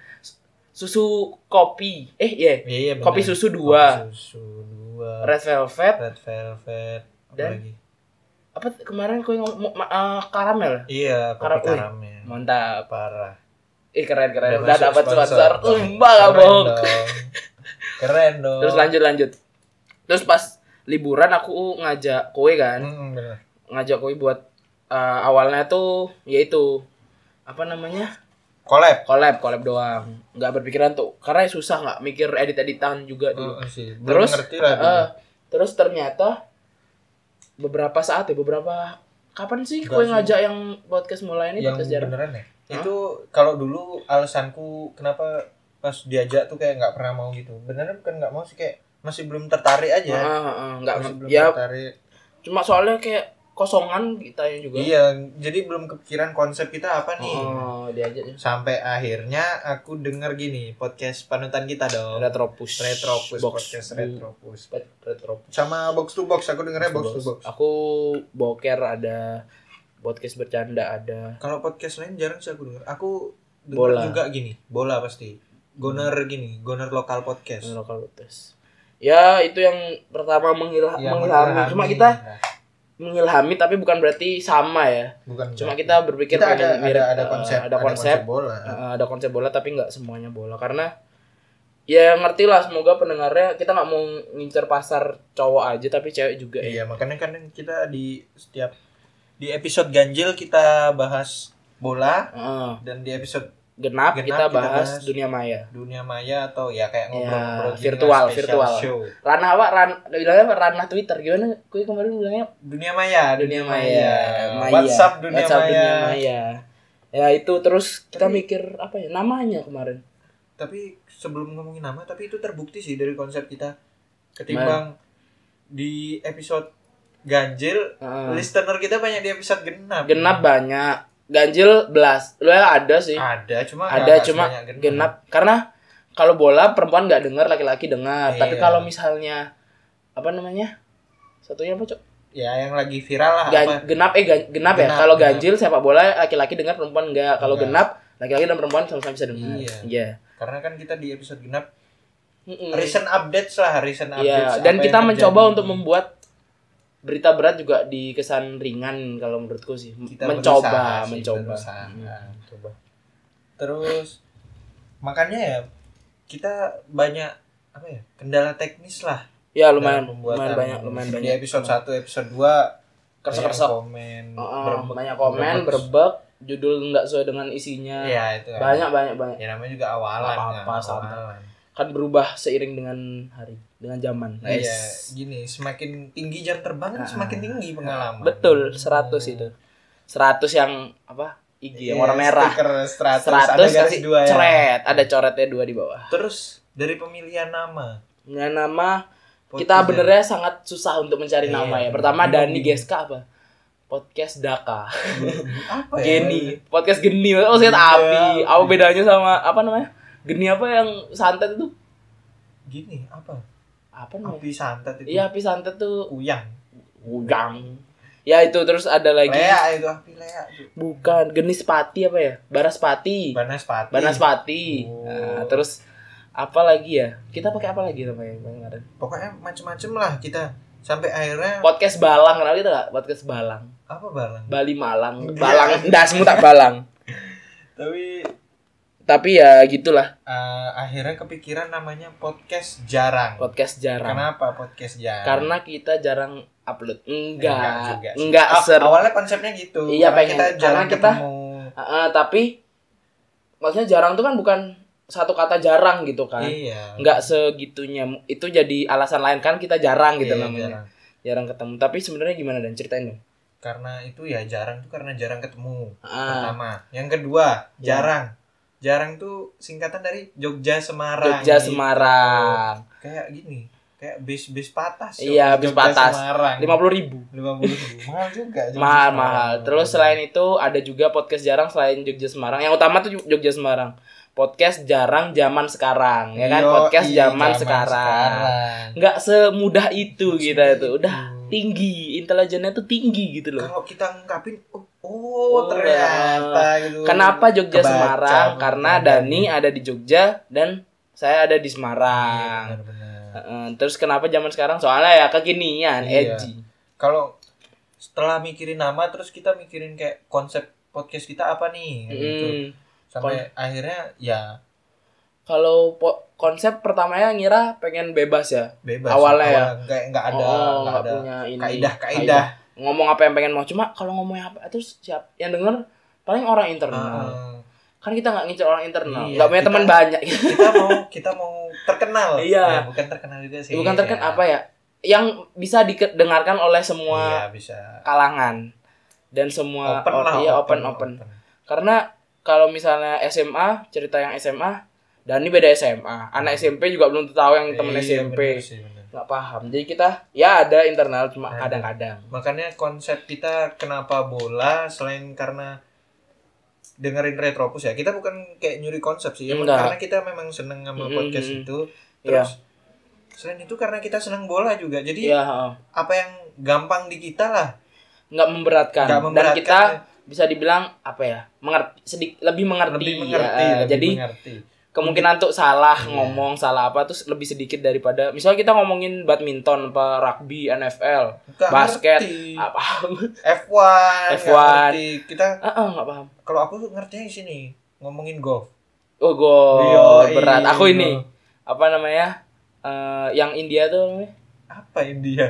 susu kopi eh iya
Iya, iya,
kopi
benar.
susu dua
Kopi susu dua.
red velvet
Red Velvet. Apa
Dan-
lagi?
apa tuh? kemarin kau ngomong ma- eh, karamel
Iya, kopi
Karam- Wih.
karamel.
mantap
Parah.
eh keren keren
Udah
udah
masuk
dapat
sponsor.
sponsor sumpah nggak
Keren
bohong
dong. Keren dong.
Terus lanjut lanjut. Terus pas liburan aku ngajak kowe kan,
Hmm, bener.
ngajak kowe buat eh, awalnya tuh yaitu apa namanya?
Collab.
collab, collab doang. nggak berpikiran tuh karena susah nggak mikir edit-editan juga dulu.
Oh, sih. Belum
terus
ngerti lah.
eh, terus ternyata beberapa saat ya beberapa kapan sih
Nggak
kowe
sih.
ngajak yang podcast mulai ini
yang
podcast jarang?
beneran ya
Hah?
itu kalau dulu alasanku kenapa pas diajak tuh kayak nggak pernah mau gitu beneran bukan nggak mau sih kayak masih belum tertarik
Heeh,
aja
heeh, Ah, nggak
masih belum
ya
tertarik
cuma soalnya kayak kosongan kita juga.
iya jadi belum kepikiran konsep kita apa nih
Oh, diajak ya.
sampai akhirnya aku denger gini podcast panutan kita dong
Retropus.
retropus
Box.
podcast retropus
Pet- Retropus.
sama box to box aku dengernya box to box
Aku boker ada podcast bercanda ada.
kalau podcast lain jarang sih aku denger aku denger
Bola.
juga gini bola pasti goner gini goner lokal podcast
Lokal Lutes. Ya, itu yang pertama mengilha-
Yang
mengilhami. Cuma kita
Nah,
mengilhami tapi bukan berarti sama ya.
bukan
Cuma kita berpikir
kita
pengen
ada
mirip,
ada ada
eh,
konsep
ada konsep,
bola
eh, ada konsep bola tapi nggak semuanya bola karena ya ngerti lah semoga pendengarnya kita nggak mau ngincer pasar cowok aja tapi cewek juga ya.
iya makanya kan kita di setiap di episode ganjil kita bahas bola
Eh,
dan di episode
genap,
Genap
kita
kita
bahas
bahas.
dunia maya.
dunia maya atau ya kayak ngobrol-ngobrol
Iya,
gini lah,
virtual,
special
virtual.
show.
ranah apa ran bilangnya apa? ranah Twitter gimana gue kemarin bilangnya
dunia maya
dunia maya, Maya.
WhatsApp dunia
WhatsApp
maya
dunia maya ya itu terus kita
Tapi-
mikir apa ya namanya kemarin
tapi sebelum ngomongin nama tapi itu terbukti sih dari konsep kita ketimbang di episode ganjil
Heeh.
listener kita banyak di episode
Ah.
genap
genap banyak ganjil belas lu ya ada sih
Ah, ada cuma
ada
nggak
cuma
sebanyak
genap. karena kalau bola perempuan nggak dengar laki-laki dengar tapi
Iya.
kalau misalnya apa namanya satunya apa cok
ya yang lagi viral lah
Gan-
apa
genap eh gan- genap, ya
Genap,
kalau
genap.
ganjil sepak bola laki-laki dengar perempuan nggak kalau
Nggak.
genap laki-laki dan perempuan sama-sama bisa dengar
Iya.
iya
karena kan kita di episode genap
Mm-mm.
recent updates lah recent
Iya,
updates
dan
apa
kita
yang
mencoba
terjadi.
untuk membuat berita berat juga dikesan ringan kalau menurutku sih.
Kita
mencoba,
berusaha sih,
mencoba.
berusaha.
Hmm.
Mencoba. terus makanya ya kita banyak apa ya kendala teknis lah
Ya
dalam
lumayan,
pembuatan.
lumayan banyak, lumayan
di
banyak.
episode 1 episode 2
Kersek-kersek.
komen
Heeh,
berebek,
Ah, banyak komen,
berebek.
berbek, judul nggak sesuai dengan isinya.
Iya, itu kan.
Banyak, banyak, banyak.
ya namanya juga awalan
Nggak apa-apa,
kan,
santai.
awalan.
Kan berubah seiring dengan hari, dengan zaman.
Nah,
Yes.
iya, gini, semakin tinggi jam terbang,
Ah.
semakin tinggi pengalaman.
Betul, 100 itu. 100 yang apa? IG yang warna merah.
Iya, Stiker 100,
100
ada garis
kasih
dua ya.
coret, ada coretnya dua di bawah.
Terus dari pemilihan nama.
Nah, nama
podcast
kita
ya.
benernya sangat susah untuk mencari
Iya,
nama ya.
bener.
Pertama
Bingung,
Dani
bingung.
Geska apa? Podcast Daka.
apa ya?
Geni. Podcast Geni. Oh, saya api.
Iya.
Apa bedanya sama apa namanya? Geni apa yang santet itu?
Gini, apa?
Apa namanya?
Api santet itu.
Iya, api santet tuh
Kuyang.
udang. Ya itu terus ada lagi
Lea itu api lea itu.
bukan Geni Sepati apa ya? Banaspati.
Banaspati.
Banaspati.
Oh.
Nah, terus apa lagi ya? Kita pakai apa lagi namanya yang kemarin?
Pokoknya macem-macem lah kita sampai akhirnya
Podcast Balang kenapa kita nggak? Podcast Balang.
apa barang.
Bali Malang,
Iya.
Balang, dasmu tak Balang.
Tapi
Tapi ya gitulah,
eh, akhirnya kepikiran namanya podcast jarang.
podcast jarang.
Kenapa podcast jarang?
Karena kita jarang upload. Enggak,
juga
enggak,
sih. Ah,
ser.
awalnya konsepnya gitu.
Iya,
karena
pengen.
kita jarang
Karena kita-
ketemu.
Ah, ah, tapi maksudnya jarang tuh kan bukan satu kata jarang gitu kan
Iya.
nggak segitunya itu jadi alasan lain kan kita jarang gitu
Iya,
namanya
jarang.
jarang ketemu tapi sebenarnya gimana dan ceritain dong
Karena itu ya jarang tuh karena jarang ketemu.
ah,
Pertama. Yang kedua,
Iya.
jarang. Jarang tuh singkatan dari Jogja Semarang.
Jogja
Gitu.
Semarang
Kayak gini. Kayak bis-bis patas.
Iya, bis patas.
Semarang.
lima puluh ribu
50 ribu. mahal juga. Jogja
mahal
Semarang.
mahal terus selain itu ada juga podcast jarang selain Jogja Semarang yang utama tuh Jogja Semarang podcast jarang zaman sekarang ya kan
Yoi,
podcast zaman sekarang
Iya, sekarang.
nggak semudah itu gitu
Semudah
itu udah
itu.
tinggi intelijennya tuh tinggi gitu loh
Kalau kita ngungkapin oh,
Oh,
oh, ternyata gitu.
kenapa Jogja
Kebaca,
Semarang karena
kebaca.
Dani ada di Jogja dan saya ada di
Iya,
Semarang
benar-benar.
Heeh, terus kenapa zaman sekarang soalnya ya kekinian
Iya.
edgy
kalau setelah mikirin nama terus kita mikirin kayak konsep podcast kita apa nih kayak gitu.
Mm.
sampai akhirnya ya
kalau po- konsep pertamanya ngira pengen bebas ya
bebas
Awalnya ya?
nggak nggak ada
oh,
nggak
nggak
ada
punya ini
kaidah kaidah
ngomong apa yang pengen mau cuma kalau ngomongnya apa terus siap yang denger paling orang internal
Heeh.
kan kita nggak ngincer orang internal
Ah. Iya,
nggak punya
kita-
teman banyak
kita mau kita mau terkenal
Iya.
Ya, bukan terkenal juga sih
bukan terken
Ya.
apa ya yang bisa didengarkan oleh semua
iya bisa
kalangan dan semua
open
or-
lah
iya open open, karena kalau misalnya SMA cerita yang SMA dan ini beda SMA anak SMP juga belum tahu yang temen
Hmm. Iya,
SMP
bener sih, bener.
nggak paham jadi kita ya ada internal cuma
Ada.
kadang-kadang
makanya konsep kita kenapa bola selain karena dengerin retropus ya kita bukan kayak nyuri konsep sih ya
Enggak.
karena kita memang seneng sama
Mm-mm.
podcast itu
Iya.
terus selain itu karena kita seneng bola juga jadi
Iya, heeh.
apa yang gampang di kita lah
nggak memberatkan.
nggak
Kan. dan
memberatkan ya.
kita bisa dibilang apa ya mengerti sedik- lebih mengerti,
lebih mengerti
ya.
lebih
jadi
mengerti
kemungkinan untuk salah
Iya.
ngomong salah apa terus lebih sedikit daripada misalnya kita ngomongin badminton apa rugby NFL
Nggak
basket
ngerti.
apa
F1 nggak
F1.
ngerti. kita
ah ah, nggak paham
kalau aku ngertinya di sini ngomongin golf
oh gol
Yoi.
berat
iya.
aku ini apa namanya Eh, yang India tuh namanya?
apa India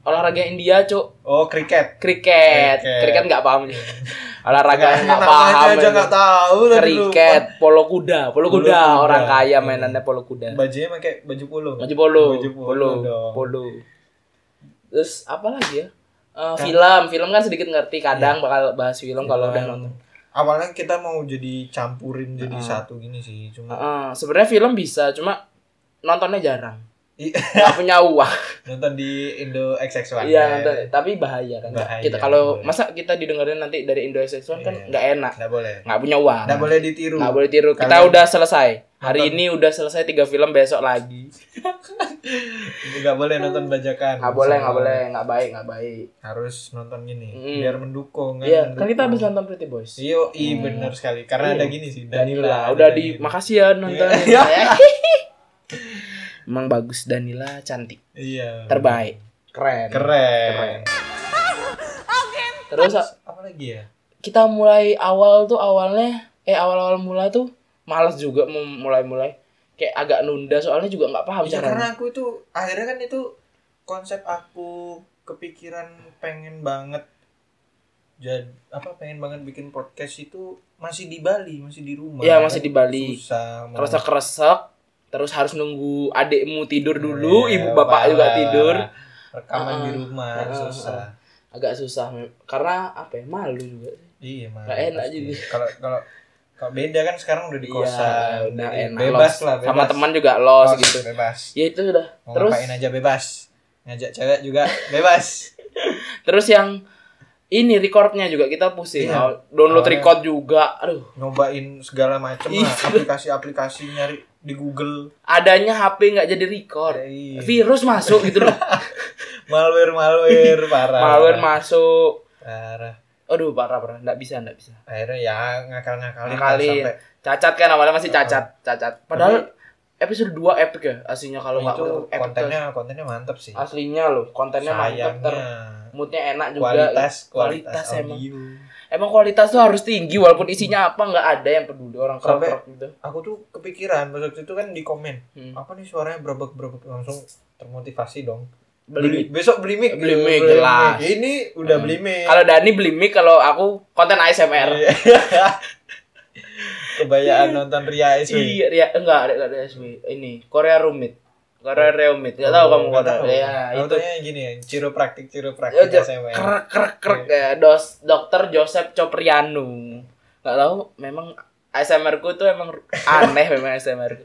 olahraga India cuk
oh kriket
kriket
Kriket.
kriket nggak paham olahraga yang nggak
Namanya
paham
aja Iya. nggak tahu lah dulu.
kriket, polo kuda, polo
Polo
kuda
kuda,
orang kaya
iya.
mainannya polo kuda.
bajunya pakai baju polo
Baju polo,
Baju polo
polo,
dong.
polo. Terus apa lagi ya? Eh, film, film kan sedikit ngerti
Iya.
kadang bakal bahas film kalau udah nonton.
awalnya kita mau jadi campurin jadi
Ah.
satu gini sih cuma
Heeh, sebenarnya film bisa, cuma nontonnya jarang.
I-
Gak punya uang.
nonton di Indo XX1
Iya, nonton. tapi bahaya kan. Nggak-
eh. Bahaya,
kita kalau
boleh.
masa kita didengerin nanti dari Indo Saxon kan
Iya.
nggak enak.
nggak boleh
Nggak punya uang.
nggak boleh ditiru
Nggak boleh tiru. Kita
Kalian-
udah selesai. Hari
Nonton.
ini udah selesai tiga film, besok lagi.
nggak boleh nonton bajakan
Nggak boleh, nggak boleh, nggak baik, nggak baik.
harus nonton gini
Mm.
biar mendukung
Iya, kan
mendukung.
kita habis nonton Pretty Boys.
Iya, i bener sekali. Karena
Iya.
ada gini sih,
Danila,
Danila.
udah
ada
di
Danila.
makasih ya nonton.
Iya.
Emang bagus Danila cantik,
Iya.
terbaik, keren.
Keren.
Keren. Terus
Apa lagi ya?
kita mulai awal tuh awalnya eh awal-awal mula tuh males juga mau mulai-mulai kayak agak nunda soalnya juga nggak paham
Iya,
cara.
karena aku itu akhirnya kan itu konsep aku kepikiran pengen banget jadi apa pengen banget bikin podcast itu masih di Bali, masih di rumah.
Iya,
Kan
masih di Bali.
Susah. mau-
Terus keresek, terus harus nunggu adikmu tidur dulu,
Iya,
ibu bapak juga
parah.
tidur. Ah.
Rekaman di
Heeh.
rumah
Heeh,
susah.
Agak susah mem- karena apa ya? Malu juga.
Iya, mah.
Nggak enak
pasti.
jadi.
Kalau kalau kalau beda kan sekarang udah di
Iya,
kosan,
udah
jadi
enak,
bebas
los.
lah, bebas.
Sama teman juga los
Los,
gitu.
Bebas.
Ya itu udah.
Mau
Terus
ngapain aja bebas. Ngajak cewek juga bebas.
Terus yang ini recordnya juga kita pusing.
Iya.
Mau Download
Awalnya.
record juga. Aduh,
Nyobain segala macem
Iya.
lah, aplikasi-aplikasi nyari di Google.
adanya HP nggak jadi record.
Iya.
Virus masuk gitu loh.
Malware-malware parah.
Malware masuk.
Parah.
Aduh, parah parah. Nggak bisa, nggak bisa.
Akhirnya ya ngakal-ngakalin lah
Kali
sampai
cacat kan awalnya masih cacat, cacat. Padahal episode 2 epic ya aslinya kalau nggak
itu
epic.
kontennya kontennya mantep sih.
aslinya loh, kontennya mantap ter
Sayangnya
moodnya enak juga.
kualitas kualitas,
Kualitas emang.
audio.
Emang kualitas tuh harus tinggi walaupun isinya apa nggak ada yang peduli orang
Sampai-
kerok gitu.
Aku tuh kepikiran pas waktu itu kan di komen,
Hmm.
apa nih suaranya berabak-berabak langsung termotivasi dong.
Beli.
besok beli mic.
Beli mic,
Beli
jelas.
mic. Ini udah
Hmm.
beli mic.
Kalau Dani beli mic, kalau aku konten ASMR.
Iya. kebayaan nonton Ria SW.
Iya, Ria, enggak, enggak ada SW. Ini Korea Rumit. Korea Reumit. Enggak Oh.
Oh,
tahu kamu Korea. Ya, itu.
Taunya gini ya, ciropraktik
Ya,
ciropraktik
ja-
SMA.
Krek krek krek ya. Dos, Dokter Joseph Coprianu. Enggak tahu memang ASMR ku tuh emang aneh memang ASMR ku.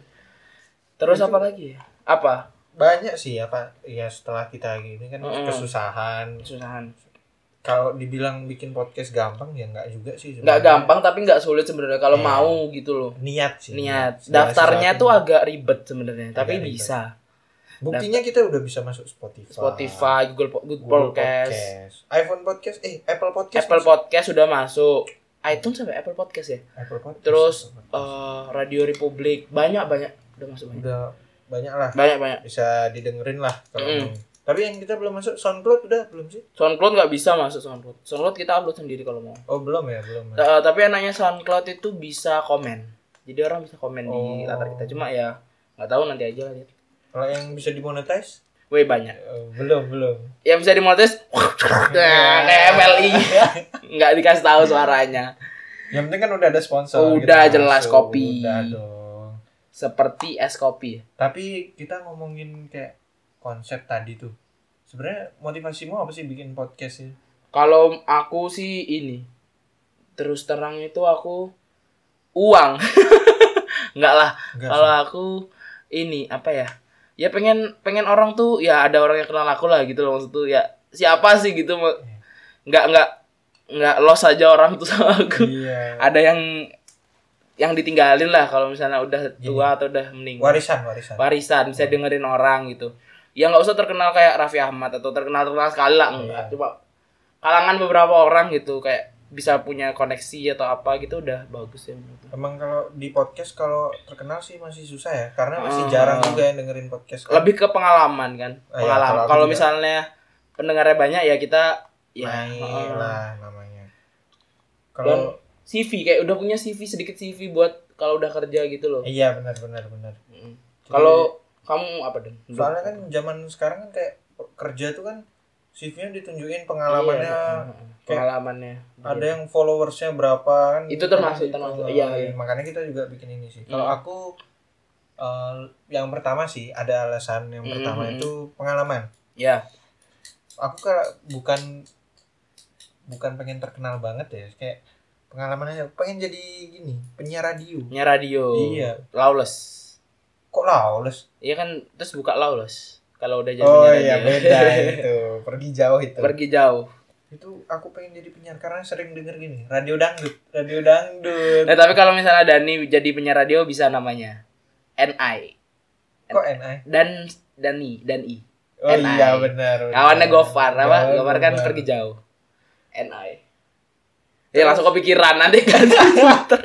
Terus apa lagi ya? Apa?
Banyak sih apa ya setelah kita gini kan
Mm-mm.
kesusahan.
Kesusahan.
Kalau dibilang bikin podcast gampang ya enggak juga sih
Enggak
sebenarnya.
gampang tapi enggak sulit sebenarnya kalau
Iya.
mau gitu loh.
Niat sih.
Niat.
Segala
Daftarnya
sesuatu.
tuh agak ribet sebenarnya, tapi
ribet.
bisa.
Buktinya kita udah bisa masuk Spotify.
Spotify, Google, Po- Google
Google
Podcast,
iPhone Podcast, eh Apple Podcast,
Apple
masuk.
Podcast sudah masuk. iTunes sampai Apple Podcast ya.
Apple Podcast.
Terus
Apple Podcast.
eh, Radio Republik banyak banyak udah masuk banyak.
udah banyak lah
Banyak banyak.
bisa didengerin lah kalau
Mm-mm.
mau. Tapi yang kita belum masuk SoundCloud udah belum sih?
SoundCloud nggak bisa masuk SoundCloud. SoundCloud kita upload sendiri kalau mau.
Oh belum ya belum. ya.
Eh, tapi enaknya SoundCloud itu bisa komen. Jadi orang bisa komen di
Oh.
latar kita. Cuma ya nggak tahu nanti aja lah lihat.
Kalau yang bisa dimonetize?
Weh banyak.
Eh, belum belum.
Yang bisa dimonetis nah, kayak MLI. Nggak dikasih tahu suaranya.
Yang penting kan udah ada sponsor.
Udah
kita
jelas
masuk.
kopi.
Udah dong.
Seperti es kopi.
Tapi kita ngomongin kayak konsep tadi tuh. Sebenarnya motivasimu apa sih bikin podcast ini?
Kalau aku sih ini terus terang itu aku uang. Enggak lah.
Enggak.
Kalau
sih.
aku ini apa ya? Ya pengen pengen orang tuh ya ada orang yang kenal aku lah gitu loh maksud tuh ya siapa sih gitu mau-
Iya.
nggak nggak nggak los aja orang tuh sama aku.
Iya.
Ada yang yang ditinggalin lah kalau misalnya udah
Gini.
tua atau udah meninggal.
Warisan warisan.
Warisan bisa dengerin orang gitu. Ya nggak usah terkenal kayak Raffi Ahmad atau terkenal terkenal sekali lah enggak.
Iya.
Cuma kalangan beberapa orang gitu kayak bisa punya koneksi atau apa gitu udah bagus ya menurut aku.
Emang kalau di podcast kalau terkenal sih masih susah ya, karena masih
Hmm.
jarang juga yang dengerin podcast. kan.
lebih ke pengalaman kan
Ah, iya,
pengalaman
kalau aku
kalau
juga.
misalnya pendengarnya banyak ya kita ya
main
heeh.
lah namanya. Kalau
CV kayak udah punya CV sedikit CV buat kalau udah kerja gitu loh
iya benar benar benar.
Mm.
Jadi,
kalau kamu apa dong
soalnya kan zaman sekarang kan kayak kerja tuh kan CV-nya ditunjukin pengalamannya
Iya, heeh. pengalamannya
ada yang followersnya berapa kan
Iya. Itu termasuk,
Gitu.
termasuk. Iya, iya.
makanya kita juga bikin ini sih kalau
Hmm.
aku eh, yang pertama sih ada alasan yang pertama
Hmm.
itu pengalaman
ya
aku kalau bukan bukan pengen terkenal banget ya kayak pengalaman aja pengen jadi gini penyiar radio
punya radio
Iya.
lawless
kok lawless
iya kan terus buka lawless kalau udah jadi
oh
punya
iya
radio.
beda itu pergi jauh itu
pergi jauh
itu aku pengen jadi penyiar karena sering denger gini radio dangdut radio dangdut
nah tapi kalau misalnya Dani jadi penyiar radio bisa namanya NI
kok NI
dan Dani dan I
oh
NI.
iya benar benar.
Kawannya Gofar, apa?
Kawan
Gofar kan
Gofar.
pergi jauh. NI. Ya langsung kepikiran nanti kan. Twitter.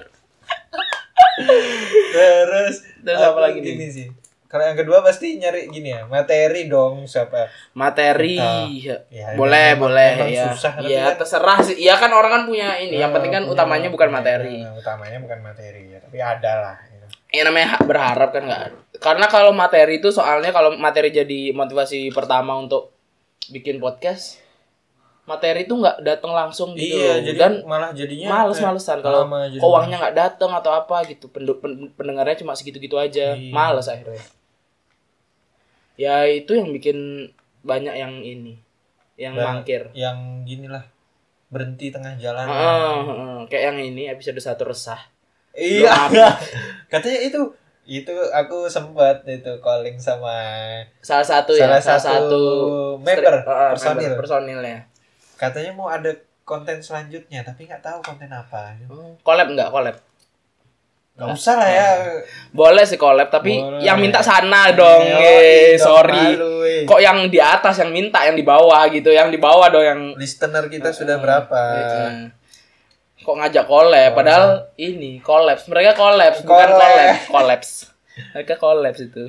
terus
Terus
aku
apa lagi nih?
gini sih kalau yang kedua pasti nyari gini ya materi dong siapa
Materi.
Kita- ya,
boleh,
memang-
boleh
memang
ya.
susah tapi
ya
kan- Oh,
terserah sih. Iya kan orang kan punya ini, yang penting kan
Eh, punya-
utamanya bukan
punya-
materi.
nah, utamanya bukan materi ya tapi ada lah gitu.
Yang namanya ha- berharap kan enggak. Karena kalau materi itu soalnya kalau materi jadi motivasi pertama untuk bikin podcast, materi itu nggak datang langsung gitu.
iya
loh.
jadi
Dan
malah jadinya
males-malesan kalau
lama jadi-
kok uangnya nggak datang atau apa gitu Pendu- pen- pendengarnya cuma segitu-gitu aja
Iya.
males akhirnya ya itu yang bikin banyak yang ini yang
Banyak.
mangkir
yang gini lah berhenti tengah jalan
Heeh, heeh. kayak yang ini episode satu resah
Iya. Katanya itu itu aku sempat itu calling sama
salah satu ya
salah,
salah
satu,
satu,
member
stri- heeh,
personil.
member, personilnya
Katanya mau ada konten selanjutnya tapi nggak tahu konten apa.
Hmm, collab nggak collab
Gak usah lah ya.
boleh sih collab tapi
Boleh.
yang minta sana dong eh,
Yoi,
sorry
malu, eh.
kok yang di atas yang minta yang di bawah gitu yang di bawah dong yang
listener kita
Ah,
sudah berapa?
Heeh. Kok ngajak collab padahal ini collapse. Mereka collapse, bukan
Collab.
collab, collapse. Mereka collapse itu.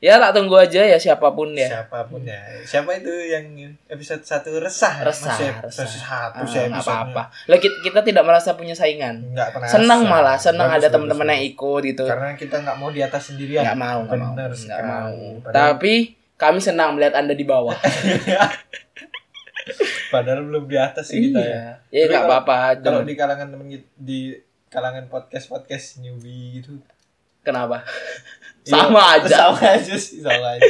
Ya tak tunggu aja ya siapapun ya.
Siapapun ya. Siapa itu yang episode satu resah?
Resah,
Masih
resah.
episode satu
Ah,
sih
nggak
episode
apa-apa. Lah kita, kita tidak merasa punya saingan.
Enggak pernah.
Senang
resah.
malah, senang
Bagus,
ada
bagus,
teman-teman
bagus.
yang ikut gitu.
Karena kita nggak mau di atas sendirian.
Nggak mau, nggak mau.
Benar
Nggak
sekali.
mau.
Padahal-
Tapi kami senang melihat Anda di bawah.
Padahal belum di atas sih kita ya.
Ya
Tapi
enggak
kalau-
Iya. apa-apa.
ya. Kalau
jangan-
di kalangan temen kita, di kalangan podcast podcast newbie gitu
Kenapa? Sama
Iya,
aja.
sama aja sih sama aja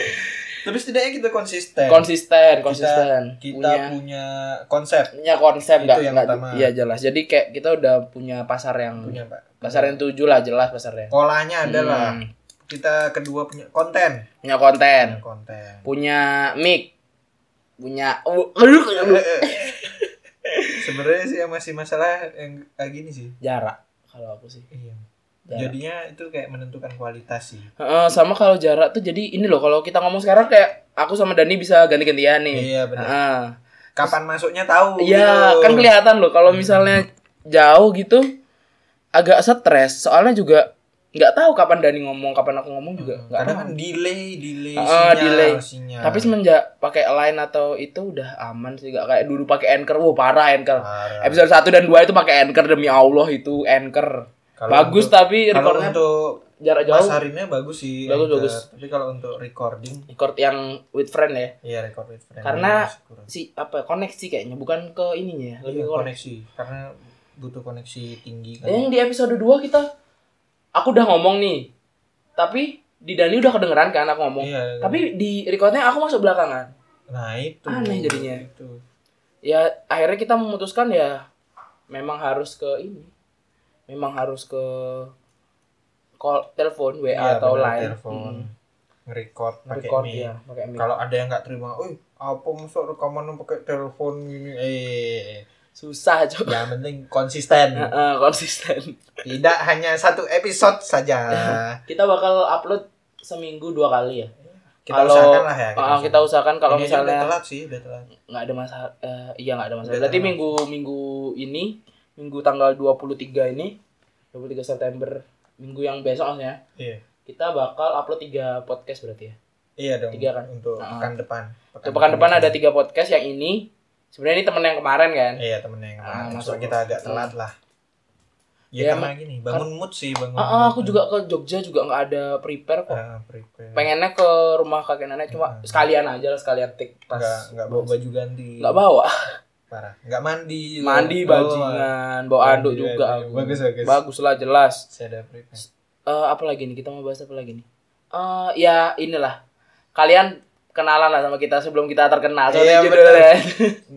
tapi setidaknya kita konsisten
Konsisten,
Iya. Kita-
konsisten.
kita
punya
punya, konsep
punya konsep
Itu
nggak
yang
nggak-
utama.
iya jelas jadi kayak kita udah punya pasar yang
punya pak
pasar yang tujuh lah jelas pasarnya
polanya adalah
Hmm.
kita kedua punya konten
punya konten
Punya konten
punya mic punya
sebenarnya sih yang masih masalah yang kayak gini sih
jarak kalau aku sih
iya.
jarak.
jadinya itu kayak menentukan kualitas sih
Heeh, sama kalau jarak tuh jadi ini loh kalau kita ngomong sekarang kayak aku sama Dani bisa ganti-gantian nih
iya benar
Heeh.
kapan masuknya
Ah.
tahu
Iya,
gitu.
kan kelihatan loh kalau misalnya jauh gitu agak stres. Soalnya juga nggak tahu kapan Dani ngomong, kapan aku ngomong juga nggak
kadang
tahu.
kan delay delay
Ah,
sinyal,
delay.
sinyal.
Tapi semenjak pakai Line atau itu udah aman sih, nggak kayak dulu pakai Anchor. Wah, parah Anchor.
Parah.
Episode 1 dan 2 itu pakai Anchor demi Allah itu Anchor.
Kalau
Bagus
untuk-
tapi
kalau
recordnya
untuk
jarak jauh.
pasarinnya bagus sih
Bagus,
Anchor.
bagus.
tapi kalau untuk recording
Record yang with friend ya.
ya record with friend
Karena-
masih kurang.
Si apa koneksi kayaknya bukan ke ininya ya,
Iya,
lebih ke koneksi.
koneksi karena butuh koneksi tinggi kan
Yang di episode 2 kita aku udah ngomong nih. Tapi di Dani udah kedengeran kan aku ngomong.
iya
Tapi di recordnya aku masuk belakangan.
nah itu
Aneh jadinya.
itu
Ya akhirnya kita memutuskan ya memang harus ke ini. Memang harus ke call telepon WA
Iya,
Ya, atau
benar,
line.
telepon
Mm.
record pakai
Record
mic.
ya, pakai mic.
kalau ada yang nggak terima, "Wih, apa masuk rekaman lu pakai telepon gini?" Eh,
Susah coba.
yang penting konsisten.
Heeh, konsisten.
Tidak hanya satu episode saja.
Kita bakal upload seminggu dua kali ya.
Kita
Kalau-
usahakan lah ya.
Ah, kita usahakan kalau
Ini aja udah
misalnya
telat sih, udah telat.
nggak ada masalah eh, iya nggak ada masalah.
Udah
Berarti
tenang.
minggu minggu ini minggu tanggal 23 ini 23 September minggu yang besok maksudnya
Iya.
kita bakal upload tiga podcast berarti ya.
Iya dong.
Tiga kan?
Untuk
Ah.
pekan depan.
Untuk pekan depan ada tiga podcast yang ini sebenarnya ini temen yang kemarin kan.
Iya, temennya yang
Ah,
kemarin.
masuk. Hmm.
Cuma kita agak telat lah.
Ya,
Ya, karena gini, bangun mood sih, bangun.
Ah, ah,
mood.
aku juga Oh. ke Jogja juga nggak ada prepare kok.
Ah, prepare.
Pengennya ke rumah kakek nenek cuma
Hmm.
sekalian aja lah sekalian tik pas
Nggak- nggak bawa baju ganti.
nggak bawa
Parah. Nggak mandi. juga.
mandi
Oh,
bajingan bawa anduk
Mandi,
juga
mandi.
aku.
Iya, Bagus, bagus.
bagus lah jelas
Saya ada prepare.
eh apa lagi nih kita mau bahas apa lagi nih Eh ya inilah kalian kenalan lah sama kita sebelum kita terkenal soalnya
Iya,
judulnya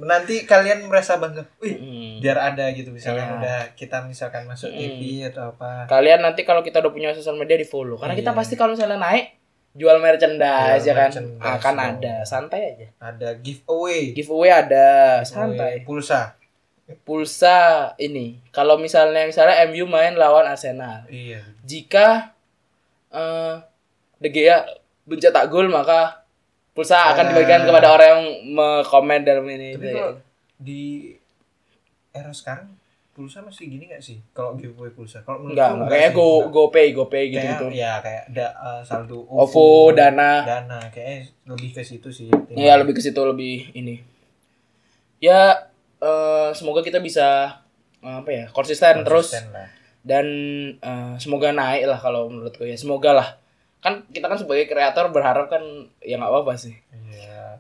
nanti kalian merasa bangga wih
Mm.
biar ada gitu misalnya
Iya. Hmm.
udah kita misalkan masuk TV atau apa
kalian nanti kalau kita udah punya sosial media di follow karena kita
Iya.
pasti kalau misalnya naik jual merchandise
Jual
ya kan
merchandise
akan
dong.
ada santai aja
ada giveaway
giveaway ada
Giveaway
santai
pulsa
pulsa ini kalau misalnya misalnya MU main lawan Arsenal
iya
jika eh De Gea mencetak gol maka pulsa akan dibagikan
Ah.
kepada orang yang komen dalam ini gitu.
tapi kalau di era sekarang pulsa masih gini nggak sih kalau giveaway pulsa kalau menurut
enggak
lu
enggak kayak
sih,
go
nggak.
GoPay GoPay gitu
kayak
gitu
ya kayak ada eh, saldo
OVO Dana
dana kayaknya lebih ke situ sih
ya lebih ke situ lebih ini ya eh semoga kita bisa eh, apa ya konsisten, terus
Konsisten lah.
dan eh, semoga naik lah kalau menurutku ya semoga lah kan kita kan sebagai kreator berharap kan ya nggak apa-apa sih
iya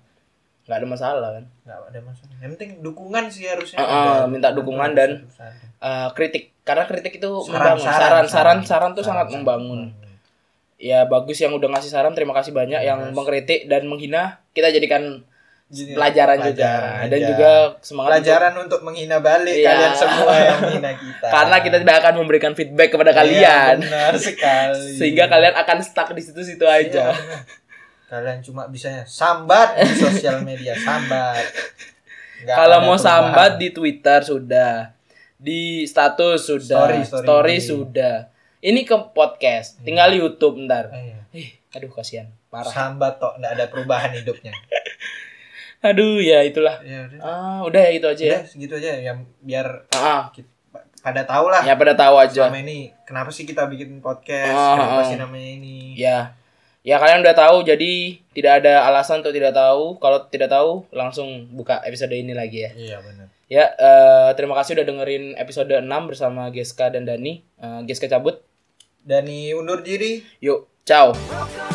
nggak ada masalah kan
nggak ada masalah yang penting dukungan sih harusnya
Ah,
ada.
ah, minta dukungan dan-
Harus ada.
Eh, kritik karena kritik itu
Saran,
membangun saran saran saran, tuh
saran,
sangat
saran.
membangun ya bagus yang udah ngasih saran terima kasih banyak yang
Yes.
mengkritik dan menghina kita jadikan
Jadi, ya,
pelajaran, juga dan juga semangat
iya. pelajaran untuk menghina balik
Iya.
kalian semua yang menghina kita
untuk- karena kita tidak akan memberikan feedback kepada kalian
Iya, benar sekali
sehingga kalian akan stuck di situ-situ
Iya,
aja
benar. kalian cuma bisanya sambat di sosial media sambat Nggak
kalau
ada
mau
perubahan.
sambat di Twitter sudah di status sudah
Story, story. Iya.
sudah ini ke podcast tinggal YouTube ntar
Eh, iya.
Ih, aduh kasihan parah
sambat tok nggak ada perubahan hidupnya
aduh ya itulah
ya udah
ah udah ya itu aja ya
Udah, segitu aja yang biar
Ah, ah.
kita, pada tahu lah
ya pada tahu aja
Ah. selama ini kenapa sih kita bikin podcast
Ah,
kenapa
ah.
sih namanya ini
Ya. Ya kalian udah tahu jadi tidak ada alasan untuk tidak tahu. Kalau tidak tahu langsung buka episode ini lagi ya.
iya benar
Ya, eh, terima kasih udah dengerin episode 6 bersama Geska dan Dani. Eh, Geska cabut.
Dani undur diri
Yuk, ciao.
Welcome